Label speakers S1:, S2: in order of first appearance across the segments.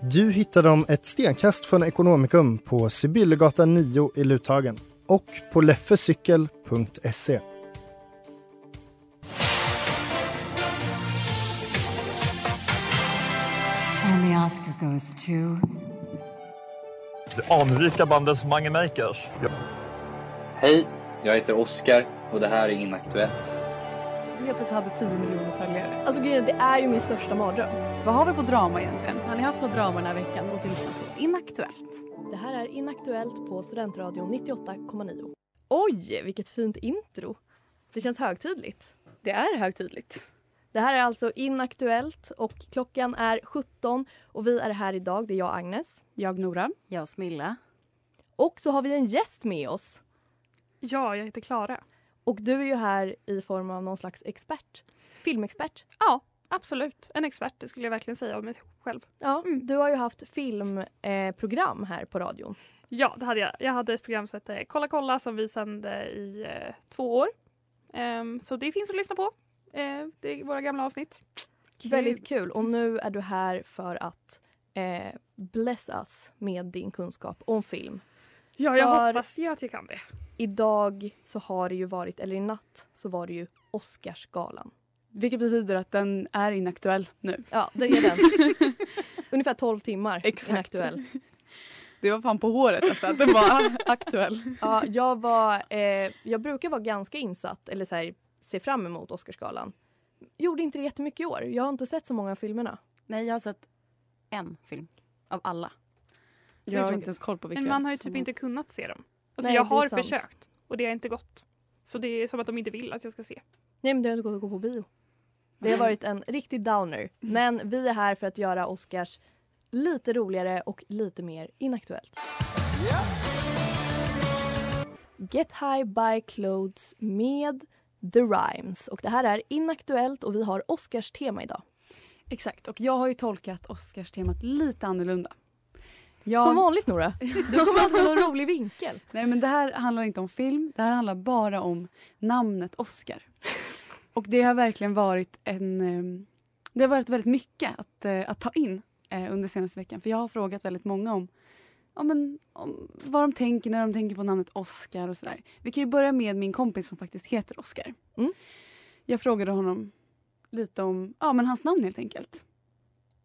S1: Du hittar dem ett stenkast från Ekonomikum på Sibyllegatan 9 i Luthagen och på leffecykel.se.
S2: And the Oscar goes to...
S3: Det anrika bandet Mange Makers.
S4: Hej, jag heter Oskar och det här är Inaktuellt.
S5: Helt plötsligt hade 10 miljoner följare.
S6: Alltså grejen det är ju min största mardröm.
S5: Vad har vi på drama egentligen? Har ni haft något drama den här veckan? Gå till lyssna på Inaktuellt.
S6: Det här är Inaktuellt på Studentradion 98,9.
S5: Oj, vilket fint intro. Det känns högtidligt.
S6: Det är högtidligt.
S5: Det här är alltså Inaktuellt och klockan är 17 och vi är här idag. Det är jag, Agnes.
S7: Jag, Nora.
S8: Jag, Smilla.
S5: Och så har vi en gäst med oss.
S9: Ja, jag heter Klara.
S5: Och du är ju här i form av någon slags expert. Filmexpert.
S9: Ja, absolut. En expert, det skulle jag verkligen säga om mig själv.
S5: Ja, Mm. Du har ju haft filmprogram eh, här på radion.
S9: Ja, det hade jag. Jag hade ett program som hette Kolla kolla som vi sände i eh, två år. Ehm, så det finns att lyssna på. Ehm, det är våra gamla avsnitt.
S5: Kul. Väldigt kul. Och nu är du här för att eh, bless us med din kunskap om film.
S9: Ja, jag för... hoppas ju att jag kan det
S5: idag så har det ju varit, eller i natt så var det ju Oscarsgalan.
S7: Vilket betyder att den är inaktuell nu.
S5: Ja, det är den. Ungefär 12 timmar Exakt. inaktuell.
S7: Det var fan på håret alltså, att den var aktuell.
S5: Ja, jag, var, eh, jag brukar vara ganska insatt, eller så här, se fram emot Oscarsgalan. Gjorde inte det jättemycket i år. Jag har inte sett så många av filmerna.
S8: Nej, jag har sett en film av alla.
S7: Så jag har inte ens koll på vilka.
S9: Men man har ju typ inte kunnat se dem. Alltså Nej, jag har försökt och det har inte gått. Så det är som att de inte vill att jag ska se.
S5: Nej men det har inte gått att gå på bio. Det har varit en riktig downer. Men vi är här för att göra Oscars lite roligare och lite mer inaktuellt. Get High By Clothes med The Rhymes. Och det här är inaktuellt och vi har Oscars tema idag.
S7: Exakt och jag har ju tolkat Oscars temat lite annorlunda.
S5: Jag... Som vanligt Nora. Du kommer alltid med någon rolig vinkel.
S7: Nej men det här handlar inte om film. Det här handlar bara om namnet Oscar. Och det har verkligen varit en... ehm, Det har varit väldigt mycket att, eh, att ta in eh, under senaste veckan. För jag har frågat väldigt många om, ja, men, om vad de tänker när de tänker på namnet Oscar och sådär. Vi kan ju börja med min kompis som faktiskt heter Oscar. Mm. Jag frågade honom lite om ja, men hans namn helt enkelt.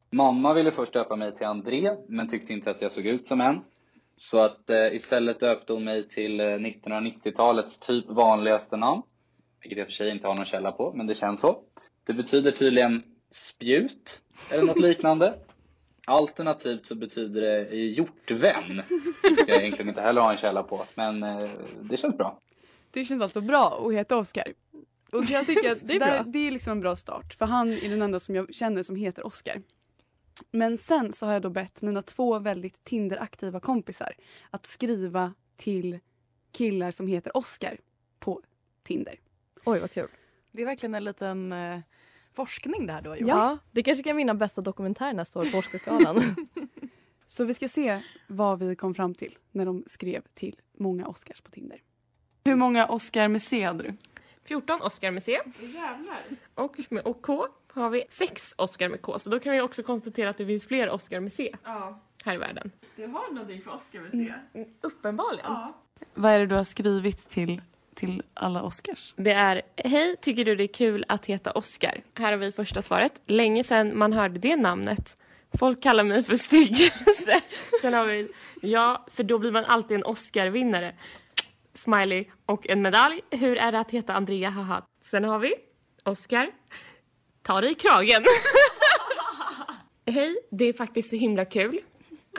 S4: Mamma ville först döpa mig till André, men tyckte inte att jag såg ut som en. Så att eh, istället döpte hon mig till eh, 1990-talets typ vanligaste namn. Vilket jag för sig inte har någon källa på, men det känns så. Det betyder tydligen spjut, eller något liknande. Alternativt så betyder det hjortvän. Jag egentligen inte heller har en källa på, men eh, det känns bra.
S7: Det känns alltså bra att heta Oskar. Och jag tycker att det är, där, det är liksom en bra start, för han är den enda som jag känner som heter Oskar. Men sen så har jag då bett mina två väldigt Tinder-aktiva kompisar att skriva till killar som heter Oscar på Tinder.
S5: Oj, vad kul.
S8: Det är verkligen en liten eh, forskning det här du har gjort.
S5: Ja, det kanske kan vinna bästa dokumentär nästa år på Oscarsgalan.
S7: så vi ska se vad vi kom fram till när de skrev till många Oscars på Tinder. Hur många Oscar med C hade du?
S10: 14 Oscar med C.
S9: Jävlar.
S10: Och med och K har vi sex Oscar med K. Så då kan vi också konstatera att det finns fler Oscar med C
S9: ja.
S10: här i världen.
S9: Du har någonting för Oscar med C? Mm,
S10: uppenbarligen. Ja.
S7: Vad är det du har skrivit till, till alla Oscars?
S10: Det är Hej, tycker du det är kul att heta Oscar? Här har vi första svaret. Länge sedan man hörde det namnet. Folk kallar mig för styggelse. Sen har vi, ja, för då blir man alltid en Oscar-vinnare. Smiley och en medalj. Hur är det att heta Andrea? Haha. Sen har vi Oscar. Ta dig i kragen. Hej, det är faktiskt så himla kul.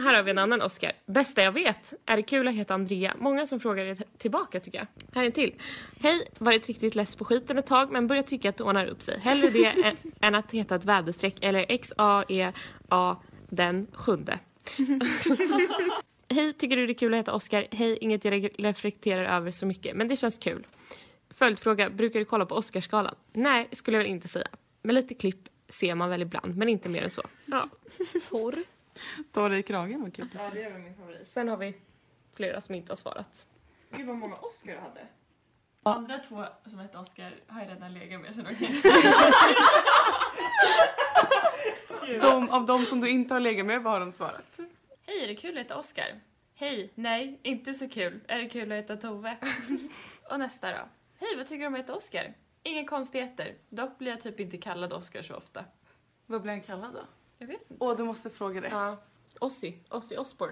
S10: Här har vi en annan Oscar. Bästa jag vet. Är det kul att heta Andrea? Många som frågar det tillbaka tycker jag. Här är en till. Hej, varit riktigt less på skiten ett tag men börjar tycka att det ordnar upp sig. Hellre det än- än att heta ett väderstreck eller E XAEA den sjunde. Hej, tycker du det är kul att heta Oscar? Hej, inget jag re- reflekterar över så mycket men det känns kul. Följdfråga, brukar du kolla på Oscarsgalan? Nej, skulle jag väl inte säga. Men lite klipp ser man väl ibland men inte mer än så. Ja.
S5: Torr.
S8: Ta dig i kragen, vad kul.
S10: Ja, det är väl min favorit. Sen har vi flera som inte har svarat. Gud vad många Oscar du hade. Andra två som hette Oscar har jag redan legat med så de
S8: De, av de som du inte har legat med, vad har de svarat?
S10: Hej, är det kul att heta Oscar? Hej, nej, inte så kul. Är det kul att heta Tove? Och nästa då. Hej, vad tycker du om att heta Oscar? Inga konstigheter. Dock blir jag typ inte kallad Oscar så ofta.
S8: Vad blir han kallad då?
S10: Jag vet inte.
S8: Åh, du måste fråga det.
S10: Ja. Ossi. Ossi Osborn.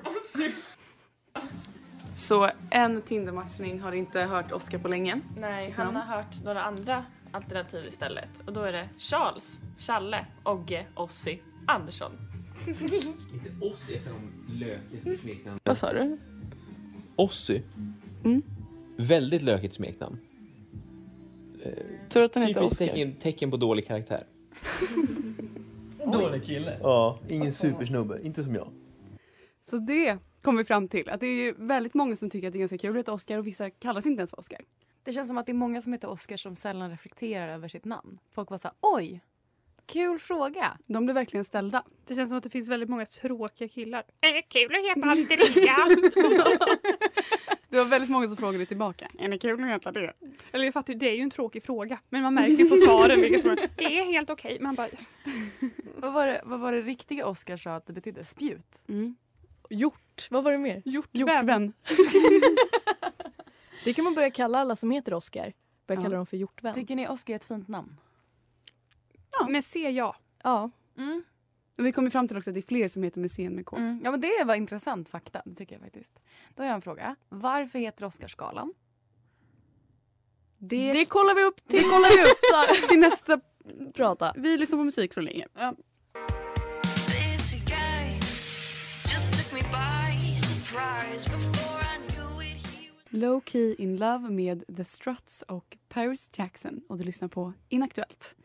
S8: Så en Tindermatchning har inte hört Oscar på länge.
S9: Nej,
S8: Sitt
S9: han
S8: namn.
S9: har hört några andra alternativ istället. Och då är det Charles, Challe, Ogge, Ossi, Andersson.
S11: Inte oss heter de lökigt smeknamn.
S8: Vad sa du?
S11: Ossi?
S8: Mm.
S11: Väldigt lökigt smeknamn. Eh,
S8: Tur att den heter
S11: Typiskt
S8: Oscar.
S11: tecken, tecken på dålig karaktär.
S12: Dålig kille.
S11: Ja, ingen supersnubbe. Inte som jag.
S7: Så det kom vi fram till. Att det är ju väldigt många som tycker att det är ganska kul att heta Oscar och vissa kallas inte ens för Oscar.
S6: Det känns som att det är många som heter Oscar som sällan reflekterar över sitt namn. Folk var så här, oj, kul fråga.
S7: De blir verkligen ställda.
S9: Det känns som att det finns väldigt många tråkiga killar. Är det kul att heta Andrea?
S7: Det var väldigt många som frågade tillbaka. Är det kul att heta det?
S9: Eller jag fattar ju, det är ju en tråkig fråga. Men man märker ju på svaren vilka som är, det är helt okej. Man bara,
S6: Vad var, det, vad var det riktiga Oscar sa att det betydde? Spjut?
S7: Mm.
S6: Hjort. Vad var det mer?
S7: Hjortvän.
S5: Det kan man börja kalla alla som heter Oscar. Börja
S6: Ja.
S5: kalla dem för hjortvän.
S6: Tycker ni Oscar är ett fint namn?
S9: ja. men se ja.
S5: Ja.
S7: Mm. Och vi kommer fram till också att det är fler som heter Messén med K.
S6: Mm. Ja, men det var intressant fakta. Det tycker jag faktiskt. Då har jag en fråga. Varför heter Oscarsgalan?
S7: Det,
S6: kollar vi upp
S7: till-
S6: Det kollar vi upp
S7: till nästa
S5: prata.
S7: Vi lyssnar på musik så länge. Ja. Low Key In Love med The Struts och Paris Jackson och du lyssnar på Inaktuellt.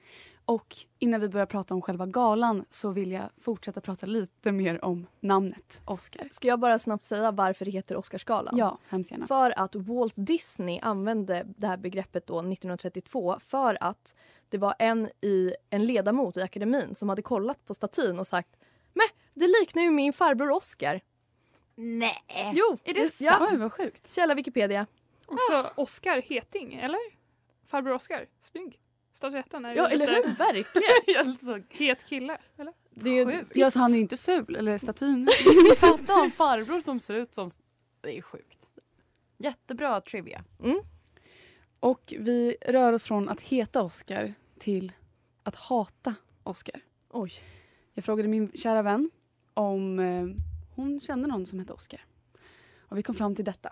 S7: Och innan vi börjar prata om själva galan så vill jag fortsätta prata lite mer om namnet Oscar.
S5: Ska jag bara snabbt säga varför det heter Oscarsgalan?
S7: Ja, hemskt gärna.
S5: För att Walt Disney använde det här begreppet då 1932 för att det var en, i, en ledamot i akademin som hade kollat på statyn och sagt men det liknar ju min farbror Oscar.
S9: Nej.
S5: Jo!
S9: Är det sant?
S5: ja.
S9: Oj,
S7: vad sjukt.
S5: Källa Wikipedia.
S9: Och
S7: Ah.
S9: så Oscar Heting, eller? Farbror Oscar, snygg. Statyetten är ju
S5: Ja, eller
S9: lite
S5: hur? Verkligen!
S9: het kille, eller?
S5: det är ju
S7: Ja, så han är inte ful, eller statyn.
S6: Fatta om farbror som ser ut som... Det är sjukt. Jättebra trivia.
S5: Mm.
S7: Och vi rör oss från att heta Oscar till att hata Oscar.
S5: Oj.
S7: Jag frågade min kära vän om eh, hon kände någon som hette Oscar. Och vi kom fram till detta.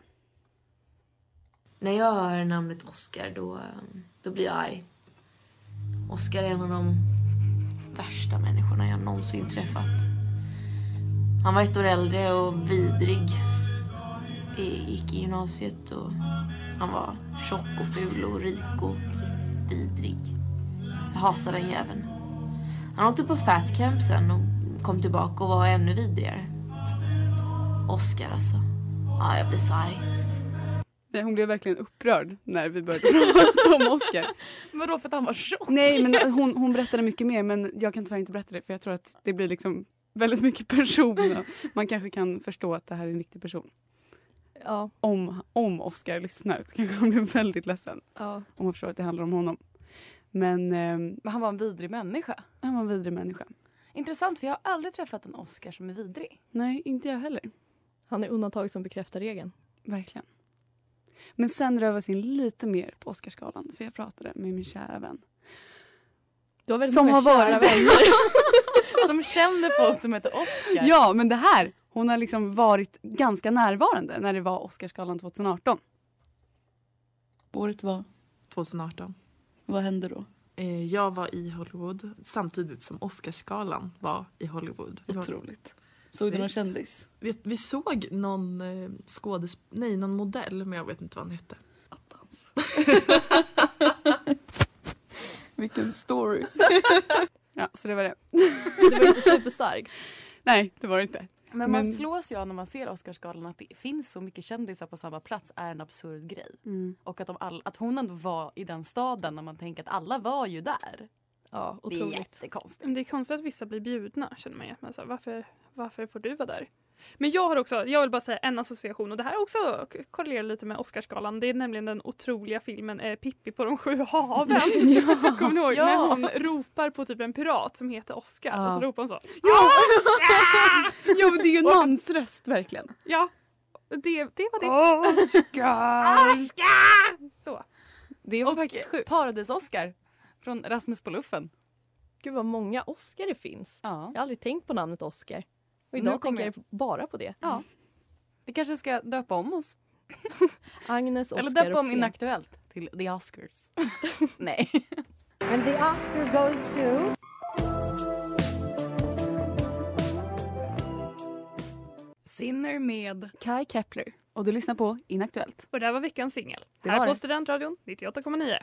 S13: När jag hör namnet Oscar då, då blir jag arg. Oscar är en av de värsta människorna jag någonsin träffat. Han var ett år äldre och vidrig. Vi gick i gymnasiet och han var tjock och ful och rik och vidrig. Jag hatar den jäveln. Han åkte på fat camp sen och kom tillbaka och var ännu vidrigare. Oscar alltså. Ja, jag blir så arg.
S7: Nej, hon blev verkligen upprörd när vi började prata om Oscar.
S8: Vadå för att han var tjock?
S7: Nej, men hon, hon berättade mycket mer men jag kan tyvärr inte berätta det för jag tror att det blir liksom väldigt mycket personer. Man kanske kan förstå att det här är en riktig person.
S5: Ja.
S7: Om, om Oscar lyssnar så kanske hon blir väldigt ledsen.
S5: Ja.
S7: Om hon förstår att det handlar om honom. Men, ehm,
S6: Men han var en vidrig människa.
S7: han var en vidrig människa.
S6: Intressant, för jag har aldrig träffat en Oscar som är vidrig.
S7: Nej, inte jag heller.
S5: Han är undantag som bekräftar regeln.
S7: Verkligen. Men sen rör vi oss in lite mer på Oscarsgalan för jag pratade med min kära vän.
S5: Du har väldigt
S7: Som
S5: många
S7: har
S5: kära
S7: varit-
S5: vänner.
S6: Som känner folk som heter Oscar.
S7: Ja, men det här. Hon har liksom varit ganska närvarande när det var Oscarsgalan 2018.
S12: Året var?
S8: 2018.
S12: Vad hände då?
S8: Eh, Jag var i Hollywood samtidigt som Oscarsgalan var i Hollywood. Vi var-
S12: Otroligt. Såg du någon
S8: Visst.
S12: kändis?
S8: Vi, vi såg någon eh, skådesp- nej någon modell men jag vet inte vad han hette.
S12: Vilken story.
S7: ja, så det var det.
S6: Det var inte superstarkt.
S7: Nej, det var det inte.
S6: Men man
S7: Men-
S6: slås ju av när man ser Oscarsgalan att det finns så mycket kändisar på samma plats är en absurd grej.
S7: Mm.
S6: Och att, de all, att hon ändå var i den staden när man tänker att alla var ju där.
S9: Ja,
S6: Det är jättekonstigt.
S9: Men det är konstigt att vissa blir bjudna känner man ju. Men så, här, varför, varför får du vara där? Men jag har också, jag vill bara säga en association och det här också k- korrelerar lite med Oscarsgalan. Det är nämligen den otroliga filmen eh, Pippi på de sju haven. Kommer ni ihåg?
S6: Ja.
S9: När hon ropar på typ en pirat som heter Oscar och så
S7: Ja.
S9: ropar hon så.
S7: Ja, ja men det är ju en mans röst verkligen.
S9: Ja, det, det var det.
S6: Oscar!
S9: Oscar! Så.
S6: Det var faktiskt sjukt. Paradis-Oscar från Rasmus på luffen.
S5: Gud vad många Oscar det finns. Jag har aldrig tänkt på namnet Oscar. Och
S6: Nu
S5: idag
S6: kommer
S5: tänker jag bara på det.
S6: Ja. Vi kanske ska döpa om oss.
S5: Agnes Oscar
S6: Eller döpa om
S5: Roxén.
S6: Inaktuellt till The Oscars. Nej.
S14: And the Oscar goes to...
S7: Sinner med Kai Kepler. Och du lyssnar på Inaktuellt.
S9: Och där var veckans singel.
S7: Det
S9: Här
S7: var
S9: på
S7: det.
S9: Studentradion 98,9.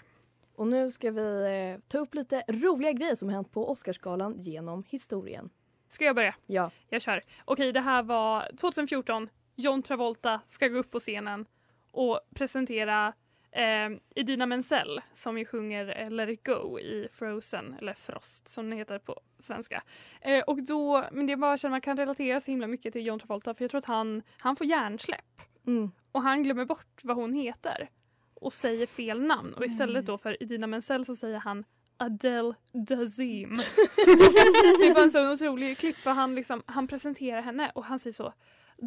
S5: Och nu ska vi eh, ta upp lite roliga grejer som hänt på Oscarsgalan genom historien.
S9: Ska jag börja?
S5: Ja.
S9: Jag kör. Okej, det här var 2014. John Travolta ska gå upp på scenen och presentera eh, Idina Menzel som ju sjunger eh, Let it go i Frozen, eller Frost som den heter på svenska. Eh, och då, men det är bara jag känner man kan relatera så himla mycket till John Travolta för jag tror att han, han får hjärnsläpp
S5: Mm.
S9: och han glömmer bort vad hon heter och säger fel namn och istället då för Idina Menzel så säger han Adele Dazim. det var en sån otrolig klipp för han, liksom, han presenterar henne och han säger så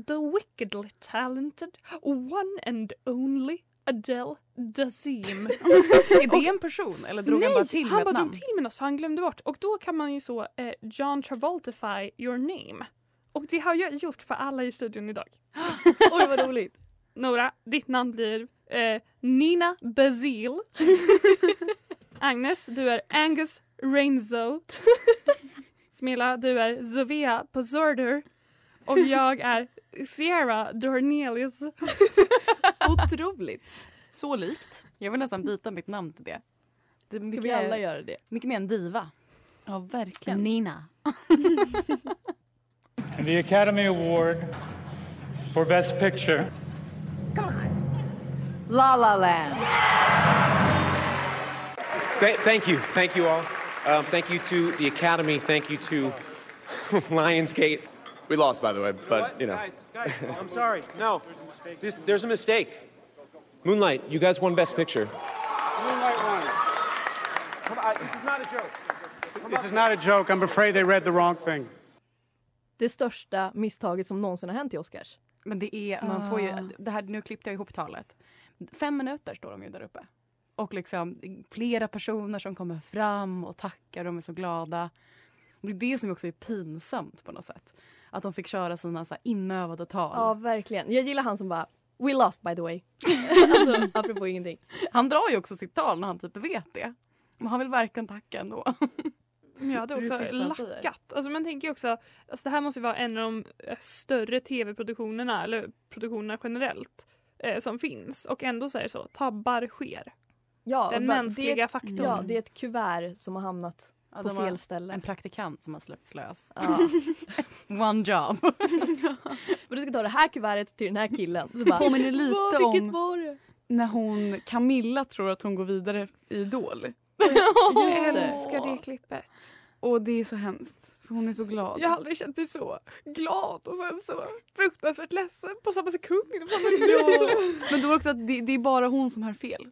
S9: The wickedly talented one and only Adele Dazim.
S6: Är det en person eller drog han bara till med
S9: han
S6: ett
S9: bara drog
S6: namn?
S9: till med något för han glömde bort. Och då kan man ju så eh, John Travoltify your name. Och det har jag gjort för alla i studion idag.
S5: Oj vad roligt.
S9: Nora, ditt namn blir eh, Nina Bazil. Agnes, du är Angus Rainzo. Smilla, du är Zovia Pozorder. Och jag är Sierra Dornelius.
S6: Otroligt. Så likt. Jag vill nästan byta mitt namn till det. det är mycket,
S5: vi alla göra det?
S6: Mycket mer en diva. Ja, verkligen. Nina.
S15: And the Academy Award for Best Picture
S14: La La Land.
S16: Th- thank you. Thank you all. Um, thank you to the Academy. Thank you to Lionsgate. We lost, by the way, but, you know.
S11: Guys, I'm sorry. No.
S16: This, there's a mistake. Moonlight, you guys won Best Picture.
S11: Moonlight Ryan. Come on, this is not a joke.
S15: This is not a joke. I'm afraid they read the wrong thing.
S5: Det största misstaget som någonsin har hänt i Oscars.
S6: Men det är, man får ju,
S5: Ah.
S6: det här, nu klippte jag ihop talet. Fem minuter står de ju där uppe. Och liksom flera personer som kommer fram och tackar, de är så glada. Och det är det som också är pinsamt på något sätt. Att de fick köra sina så här inövade tal.
S5: Ja, verkligen. Jag gillar han som bara We lost by the way. alltså, apropå ingenting.
S6: Han drar ju också sitt tal när han typ vet det. Men han vill verkligen tacka ändå.
S9: Men jag hade
S6: Det är det
S9: också
S6: sista han säger.
S9: lackat. Alltså man tänker ju också, alltså det här måste ju vara en av de eh, större tv-produktionerna eller produktionerna generellt eh, som finns. Och ändå så är det så, tabbar sker.
S5: Ja,
S9: Den
S5: och bara-
S9: mänskliga
S5: det är ett,
S9: faktorn.
S5: Ja, det är ett kuvert som har hamnat
S6: Ja,
S5: på
S6: de har
S5: fel ställe.
S6: En praktikant som har släppts lös.
S5: Ja.
S6: One job.
S5: Men du ska ta det här kuvertet till den här killen. Så bara,
S7: Påminner lite
S5: "Wow, vilket
S7: om-
S5: var det?
S7: När hon, Camilla tror att hon går vidare i Idol.
S9: Jag älskar det klippet.
S7: Och det är så hemskt. För hon är så glad.
S9: Jag har aldrig känt mig så glad och sen så fruktansvärt ledsen på samma sekund. Inom samma
S7: Ja. Men då är det också att det, det är bara hon som hör fel.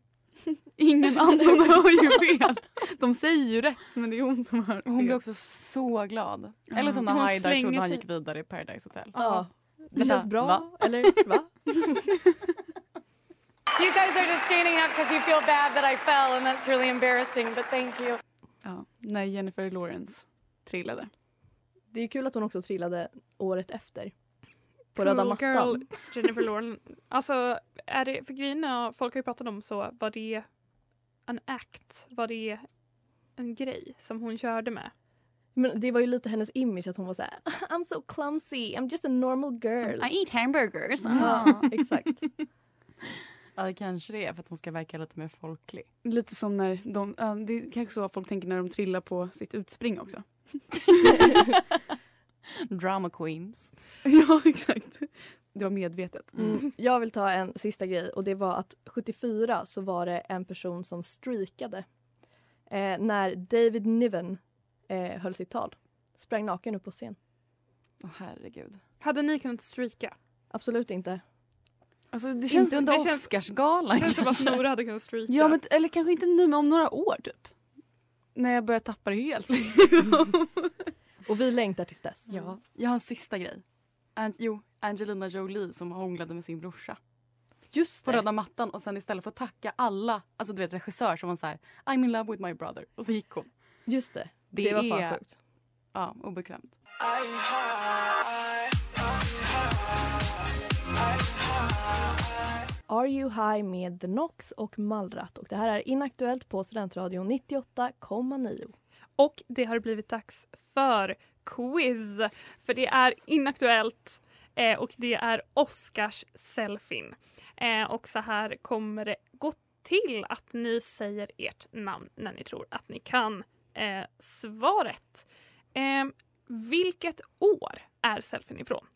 S7: Ingen annan hör ju fel. De säger ju rätt men det är hon som hör fel.
S6: Hon blir också så glad.
S7: Ja.
S6: Eller som när
S7: Hon
S6: Haidar
S7: slänger
S6: trodde han
S7: sig.
S6: gick vidare i Paradise Hotel.
S5: Ja. Det
S6: Vänta,
S5: känns bra,
S6: va?
S5: eller va?
S17: You guys are just standing up because you feel bad that I fell, and that's really embarrassing, but thank you.
S7: Ja, när Jennifer Lawrence trillade.
S5: Det är kul att hon också trillade året efter. På
S10: Cool
S5: röda
S10: girl,
S5: mattan.
S10: Jennifer Lauren. Alltså, är det, för grejen är, folk har ju pratat om så, var det en act? Var det en grej som hon körde med?
S5: Men det var ju lite hennes image att hon var så här I'm so clumsy, I'm just a normal girl.
S7: I eat hamburgers.
S5: Ja, exakt.
S7: Ja, det kanske det är för att hon ska verka lite mer folklig.
S9: Lite som när de, ja, det är kanske så folk tänker när de trillar på sitt utspring också.
S7: Drama queens.
S9: ja, exakt. Det var medvetet.
S5: Mm. Jag vill ta en sista grej och det var att 74 så var det en person som streakade eh, när David Niven eh, höll sitt tal. Sprang naken upp på scen.
S7: Åh herregud.
S10: Hade ni kunnat streaka?
S5: Absolut inte.
S7: Alltså, det
S5: Inte
S7: känns,
S5: under
S7: det känns, Oscarsgalan
S10: Det känns som att
S7: kanske.
S10: Nora hade kunnat streaka.
S9: Ja, men, eller kanske inte nu, men om några år typ. När jag börjar tappa det helt.
S5: Och vi längtar tills dess.
S7: Ja. Jag har en sista grej. An- jo, Angelina Jolie som hånglade med sin brorsa.
S5: Just
S7: På röda mattan och sen istället för att tacka alla, alltså du vet regissör som var så här I'm in love with my brother och så gick hon.
S5: Just det.
S7: Det,
S5: Det var
S7: är,
S5: fan sjukt.
S7: Ja, obekvämt.
S5: Are You High med The Knox och Mallrat och det här är inaktuellt på Studentradion 98,9.
S10: Och det har blivit dags för quiz. För det är inaktuellt eh, och det är Oscars selfien. Eh, och så här kommer det gå till att ni säger ert namn när ni tror att ni kan eh, svaret. Eh, vilket år är selfien ifrån?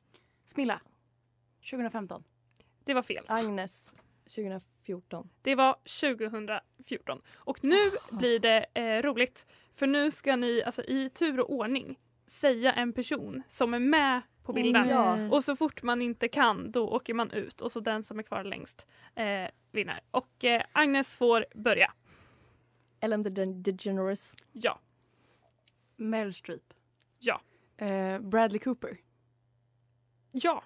S7: Smilla. 2015.
S10: Det var fel.
S5: Agnes 2014.
S10: Det var 2014. Och nu
S5: Ah.
S10: blir det eh, roligt. För nu ska ni alltså, i tur och ordning säga en person som är med på bilden.
S5: Oh, ja.
S10: Och så fort man inte kan då åker man ut och så den som är kvar längst eh, vinner. Och eh, Agnes får börja.
S5: Ellen the De- DeGeneres.
S10: Ja.
S7: Meryl Streep.
S10: Ja.
S9: Eh, Bradley Cooper.
S10: Ja.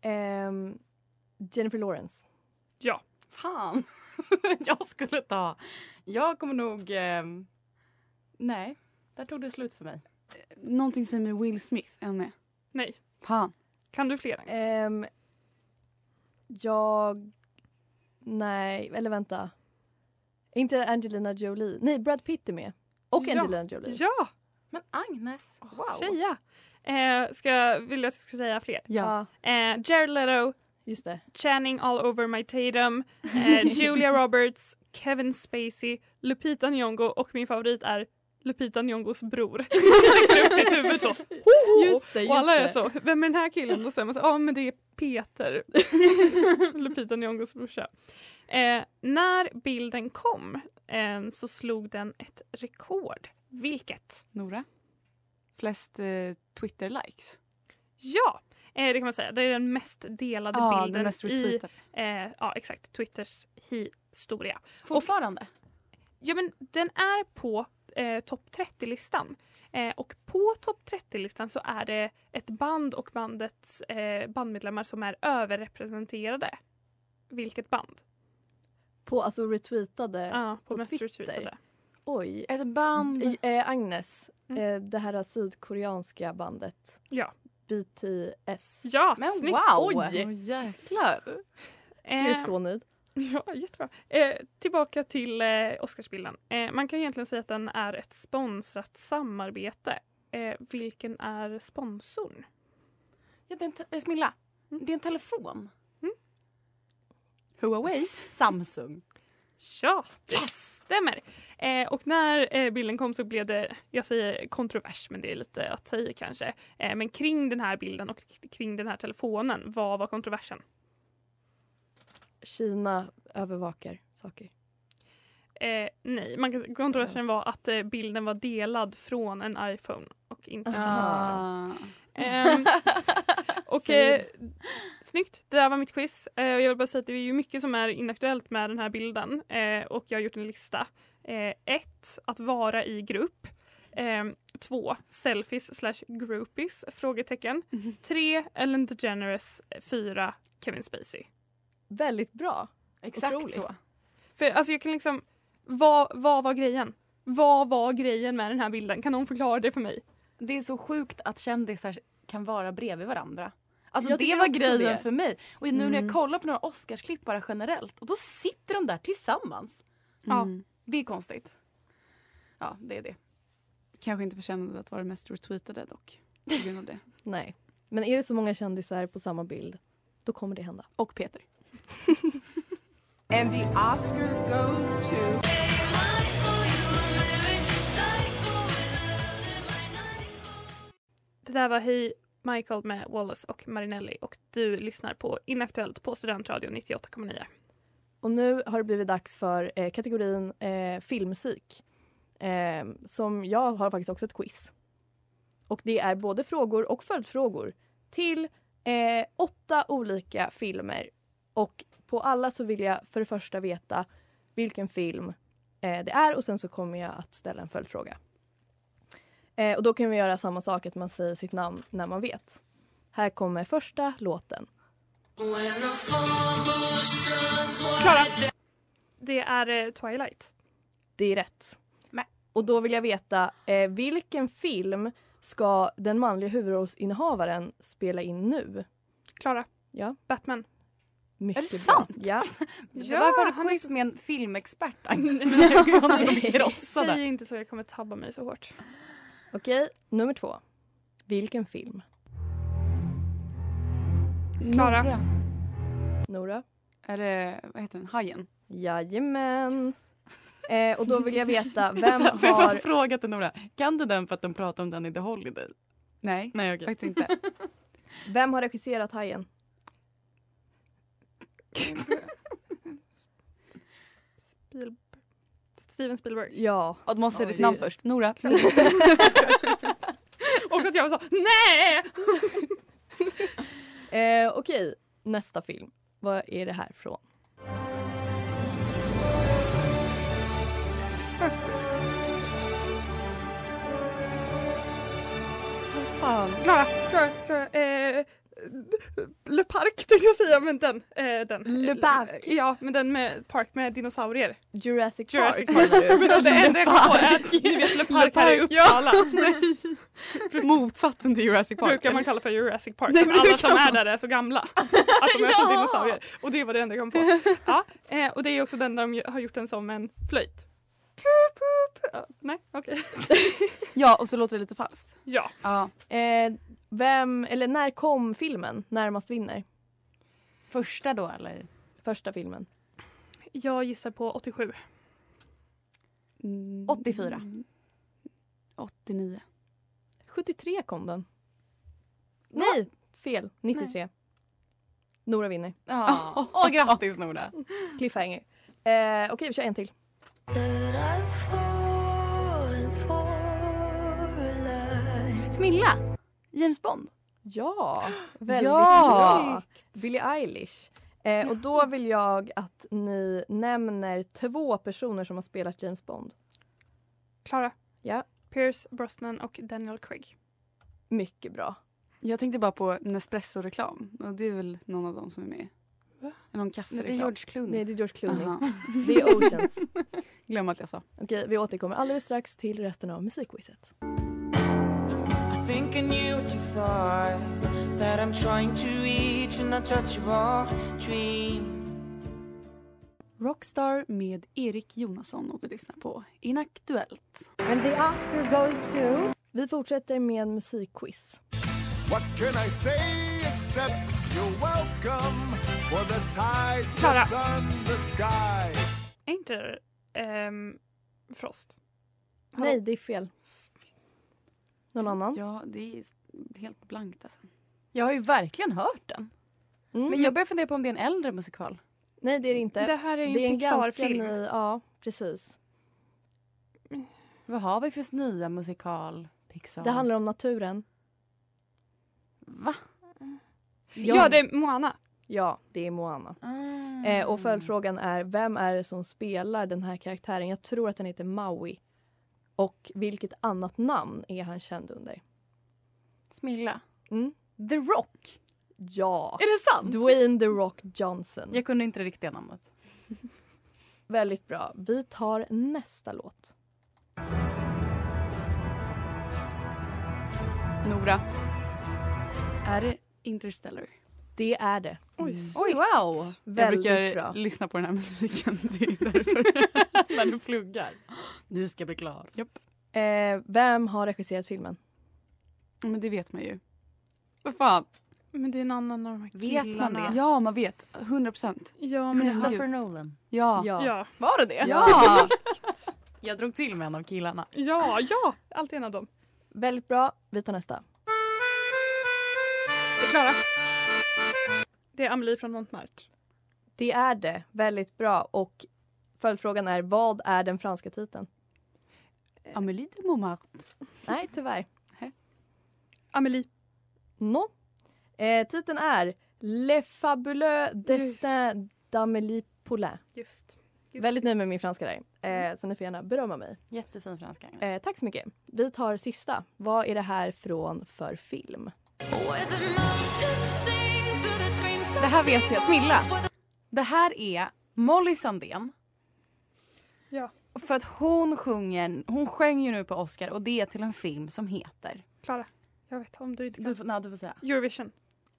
S5: Ehm, Jennifer Lawrence.
S10: Ja.
S7: Fan. jag skulle ta... Jag kommer nog... ehm, nej, där tog det slut för mig.
S9: Någonting säger mig Will Smith, är han med?
S10: Nej.
S9: Fan.
S10: Kan du fler?
S7: Eh,
S10: Agnes?
S5: Ehm, jag... Nej, eller vänta. Inte Angelina Jolie. Nej, Brad Pitt är med. Och
S10: Ja.
S5: Angelina Jolie.
S10: Ja.
S7: Men Agnes,
S10: wow. Tjeja. Eh, ska, vill jag att jag ska säga fler?
S5: Ja.
S10: Eh, Jared Leto.
S5: Just det.
S10: Channing all over my Tatum. Eh, Julia Roberts. Kevin Spacey. Lupita Nyong'o och min favorit är Lupita Nyong'os bror. Han räcker upp sitt huvud så.
S5: Just det, just
S10: Oh, och alla är
S5: det.
S10: så, vem är den här killen? Och så är man så, ja men det är Peter. Lupita Nyong'os brorsa. Eh, när bilden kom eh, så slog den ett rekord. Vilket?
S9: Nora? Flest eh, Twitter-likes?
S10: Ja, eh, det kan man säga. Det är den mest delade
S9: Ja, den
S10: bilden
S9: mest
S10: i
S9: retweetade.
S10: eh, ja, exakt, Twitters historia.
S7: Fortfarande?
S10: ja, men den är på eh, topp 30-listan. Eh, och på topp 30-listan så är det ett band och bandets eh, bandmedlemmar som är överrepresenterade. Vilket band?
S5: På alltså retweetade
S10: Ja, på,
S5: på
S10: mest
S5: Twitter.
S10: retweetade.
S5: Oj.
S7: Ett band.
S5: I- Eh, Agnes, eh, det här sydkoreanska bandet.
S10: Ja.
S5: BTS.
S10: Ja,
S7: Men
S10: snyggt!
S7: wow!
S5: Oj.
S7: jäklar.
S5: Jag är
S10: Eh,
S5: så nöjd.
S10: Ja, jättebra. Eh, tillbaka till eh, Oscarsbilden. Eh, man kan egentligen säga att den är ett sponsrat samarbete. Eh, vilken är sponsorn?
S7: Ja, det är en te- eh, Smilla, det är en telefon.
S9: Huawei?
S7: Samsung.
S10: Ja, yes! stämmer. Eh, och när eh, bilden kom så blev det, jag säger kontrovers men det är lite att säga kanske. Eh, men kring den här bilden och k- kring den här telefonen, vad var kontroversen?
S5: Kina övervakar saker.
S10: Eh, nej, man kan, kontroversen var att eh, bilden var delad från en iPhone och inte från en Samsung.
S9: Ah.
S10: Ehm, och eh, snyggt, det där var mitt quiz. Eh, och jag vill bara säga att det är ju mycket som är inaktuellt med den här bilden eh, och jag har gjort en lista. Eh, ett, att vara i grupp. Ehm, två, selfies slash groupies? Frågetecken. Tre, Ellen DeGeneres. Fyra, Kevin Spacey.
S5: Väldigt bra.
S7: Exakt
S5: Otroligt.
S7: så.
S10: För alltså jag kan liksom, vad, vad var grejen? Vad var grejen med den här bilden? Kan någon förklara det för mig?
S9: Det är så sjukt att kändisar kan vara bredvid varandra. Alltså
S5: Jag
S9: det
S5: tycker
S9: var
S5: också
S9: grejen
S5: det.
S9: för mig. Och nu när
S5: Mm.
S9: jag kollar på några Oscarsklipp bara generellt och då sitter de där tillsammans.
S7: Mm.
S9: Ja, det är konstigt. Ja, det är det.
S7: Kanske inte förtjänade att vara mest retweetade dock. På grund av det.
S5: Nej. Men är det så många kändisar på samma bild, då kommer det hända.
S9: Och Peter.
S18: And the Oscar goes to...
S10: Det där var Hej Michael med Wallace och Marinelli och du lyssnar på Inaktuellt på Studentradion 98,9.
S5: Och nu har det blivit dags för eh, kategorin eh, filmmusik. Eh, som jag har faktiskt också ett quiz. Och det är både frågor och följdfrågor till eh, åtta olika filmer. Och på alla så vill jag för det första veta vilken film eh, det är och sen så kommer jag att ställa en följdfråga. Eh, och då kan vi göra samma sak, att man säger sitt namn när man vet. Här kommer första låten.
S10: Klara! Det är eh, Twilight.
S5: Det är rätt. Och då vill jag veta, eh, vilken film ska den manliga huvudrollsinnehavaren spela in nu?
S10: Klara.
S5: Ja.
S10: Batman.
S5: Mycket
S9: Är det
S5: bra.
S9: sant?
S5: Ja.
S10: Ja,
S9: Varför har
S10: han
S9: du
S10: är
S9: quiz med en filmexpert? Agnes?
S5: Ja.
S9: Ögonen är krossade.
S10: Säg inte så, jag kommer tabba mig så hårt.
S5: Okej, nummer två. Vilken film?
S10: Klara.
S7: Nora.
S5: Nora?
S7: Är det, vad heter den, Hajen?
S5: Jajamän. Eh, och då vill jag veta,
S9: Det är
S5: vem
S9: därför jag har
S5: har...
S9: frågat till Nora. Kan du den för att de pratar om den i The Holiday?
S7: Nej,
S9: Nej, okej.
S7: faktiskt inte.
S5: Vem har regisserat Hajen?
S10: Spiel... Steven Spielberg.
S5: Ja.
S19: Ja, du måste säga
S5: Oj.
S19: ditt namn först. Nora.
S10: Och att jag sa nej!
S5: Eh, Okej, nästa film. Vad är det här från?
S7: Fan.
S10: Klara, Klara, Klara. Eh, Le Parc tänkte jag säga, men den. Eh, den.
S5: Le Parc.
S10: Ja, men den med park med dinosaurier.
S5: Jurassic,
S10: Jurassic
S5: Park.
S10: Park. men det enda jag kom på är att ni vet Le Parc här i
S9: Parc,
S10: Uppsala.
S9: Motsatsen till Jurassic Park.
S10: brukar man kalla för Jurassic Park.
S9: Det
S10: för att alla
S9: brukar
S10: som är där är så gamla. Att de är som dinosaurier. Och det var det enda jag kom på. Ja, eh, och det är också den där de ju- har gjort den som en flöjt. Pup, pup. Ja, nej, okej.
S7: Ja, och så låter det lite falskt.
S10: Ja.
S7: Ja.
S5: Eh, vem, eller när kom filmen Närmast vinner?
S9: Första då eller?
S5: Första filmen.
S10: Jag gissar på 87.
S7: Mm.
S9: 84.
S7: 89.
S5: 73 kom den. Nej, fel. 93. Nora vinner.
S9: Ja. Åh, grattis Nora.
S5: Cliffhanger. Eh, Okej, vi kör en till.
S9: Smilla. James Bond.
S5: Ja, väldigt
S9: Ja.
S5: bra. Billie Eilish. Eh, och då vill jag att ni nämner två personer som har spelat James Bond.
S10: Klara,
S5: Ja,
S10: Pierce Brosnan och Daniel Craig.
S5: mycket bra.
S7: Jag tänkte bara på Nespresso-reklam. Och det är väl någon av dem som är med.
S10: Va?
S7: Eller någon kaffereklam.
S5: Nej, det är George Clooney.
S7: Aha.
S5: Det är Oceans.
S7: Glöm att jag sa.
S5: Okej, vi återkommer alldeles strax till resten av musikquizet.
S15: think I knew what you thought that I'm trying to reach an untouchable dream.
S7: Rockstar med Erik Jonasson och du lyssnar på Inaktuellt.
S20: And the Oscar goes to.
S5: Vi fortsätter med musikquiz.
S16: What can I say except you're welcome for the tides,
S10: Klara.
S16: the sun, the sky?
S10: Är inte det ehm, Frost? Hallå?
S5: Nej, det är fel. Någon annan?
S7: Ja, det är helt blankt alltså.
S9: Jag har ju verkligen hört den.
S5: Mm.
S9: Men jag börjar fundera på om det är en äldre musikal.
S5: Nej, det är det inte.
S10: Det här är ju
S5: det är
S10: en
S5: en ganska
S10: Pixar-film.
S5: ny... Ja, precis.
S9: Vad har vi för nya musikal? Pixar?
S5: Det handlar om naturen.
S9: Va?
S10: Ja, det är Moana.
S5: Ja, det är Moana.
S9: Ah.
S5: Eh, och följdfrågan är, vem är det som spelar den här karaktären? Jag tror att han heter Maui. Och vilket annat namn är han känd under?
S9: Smilla.
S5: Mm.
S9: The Rock.
S5: Ja!
S9: Är det sant?
S5: Dwayne The Rock Johnson.
S9: Jag kunde inte det riktiga namnet.
S5: Väldigt bra. Vi tar nästa låt.
S7: Nora.
S21: Är det Interstellar?
S5: Det är det.
S7: Mm. Oj,
S5: Oj, wow.
S7: Jag
S5: Väldigt
S7: brukar
S5: bra.
S7: lyssna på den här musiken. Det är därför. När du pluggar. Nu ska jag bli klar. Japp.
S5: Eh, vem har regisserat filmen?
S7: Men det vet man ju. Vad fan?
S15: Men det är en annan av de här
S7: Vet man
S15: killarna.
S7: det?
S21: Ja, man vet. 100 procent.
S15: Ja, men
S7: Christopher
S15: Nolan.
S21: Ja.
S15: Ja. ja.
S7: Var det det?
S15: Ja.
S7: jag drog till med en av killarna.
S15: Ja, ja, alltid en av dem.
S5: Väldigt bra. Vi tar nästa.
S15: Det är Klara. Det är Amelie från Montmartre.
S5: Det är det. Väldigt bra. Och följdfrågan är vad är den franska titeln?
S21: Amélie de Montmartre.
S5: Nej, tyvärr.
S15: Amélie.
S5: No. Eh, titeln är Le fabuleux destin d'Amélie Poulain.
S15: Just.
S5: Väldigt nöjd med min franska där. Eh, så ni får gärna berömma mig.
S7: Jättefin franska. Agnes.
S5: Eh, tack så mycket. Vi tar sista. Vad är det här från för film?
S7: Det här vet jag. Smilla. Det här är Molly Sandén.
S15: Ja.
S7: För att hon sjunger, hon sjöng ju nu på Oscar och det är till en film som heter...
S15: Klara, jag vet om du inte
S7: kan. Du, får- nej, du får säga.
S15: Eurovision.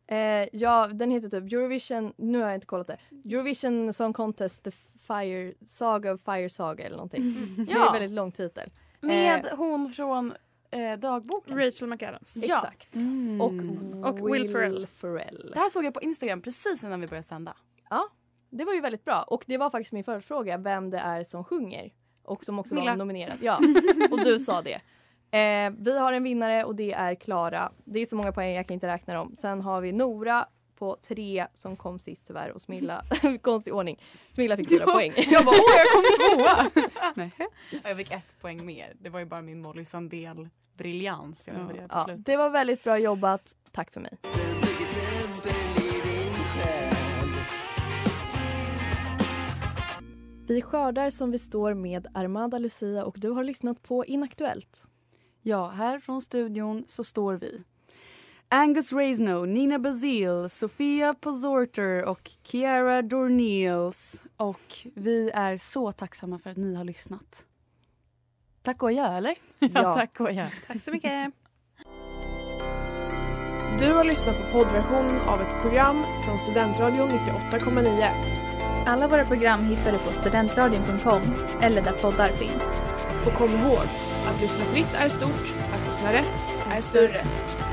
S5: Eh, ja, den heter typ Eurovision... Nu har jag inte kollat det. Eurovision Song Contest The Fire Saga of Fire Saga eller någonting. Det är
S7: Ja.
S5: en väldigt lång titel.
S7: Med
S5: Eh,
S7: hon från eh, dagboken.
S15: Rachel McAdams.
S5: Exakt. Och,
S15: Och Will Ferrell.
S5: Ferrell.
S7: Det här såg jag på Instagram precis innan vi började sända.
S5: Ja, det var ju väldigt bra. Och det var faktiskt min följdfråga, vem det är som sjunger. Och som också
S7: Milla.
S5: var nominerad. Ja, och du sa det. Eh, vi har en vinnare och det är Klara. Det är så många poäng jag kan inte räkna dem. Sen har vi Nora på tre som kom sist tyvärr och Smilla, konstig ordning. Smilla fick fyra poäng.
S7: Jag bara, åh jag kom tvåa! Nej. Jag fick ett poäng mer. Det var ju bara min Molly Sandén-briljans jag levererade till
S5: Ja,
S7: slut.
S5: det var väldigt bra jobbat. Tack för mig. Vi skördar som vi står med Armada Lucia och du har lyssnat på Inaktuellt.
S21: Ja, här från studion så står vi. Angus Reisno, Nina Bazil, Sofia Pozorter och Kiara Dorneels. Och vi är så tacksamma för att ni har lyssnat. Tack och adjö, eller?
S15: Ja,
S7: tack och adjö.
S15: Tack så mycket.
S9: Du har lyssnat på poddversionen av ett program från Studentradion 98,9. Alla våra program hittar du på studentradion.com eller där poddar finns. Och kom ihåg, att lyssna fritt är stort, att lyssna rätt är större.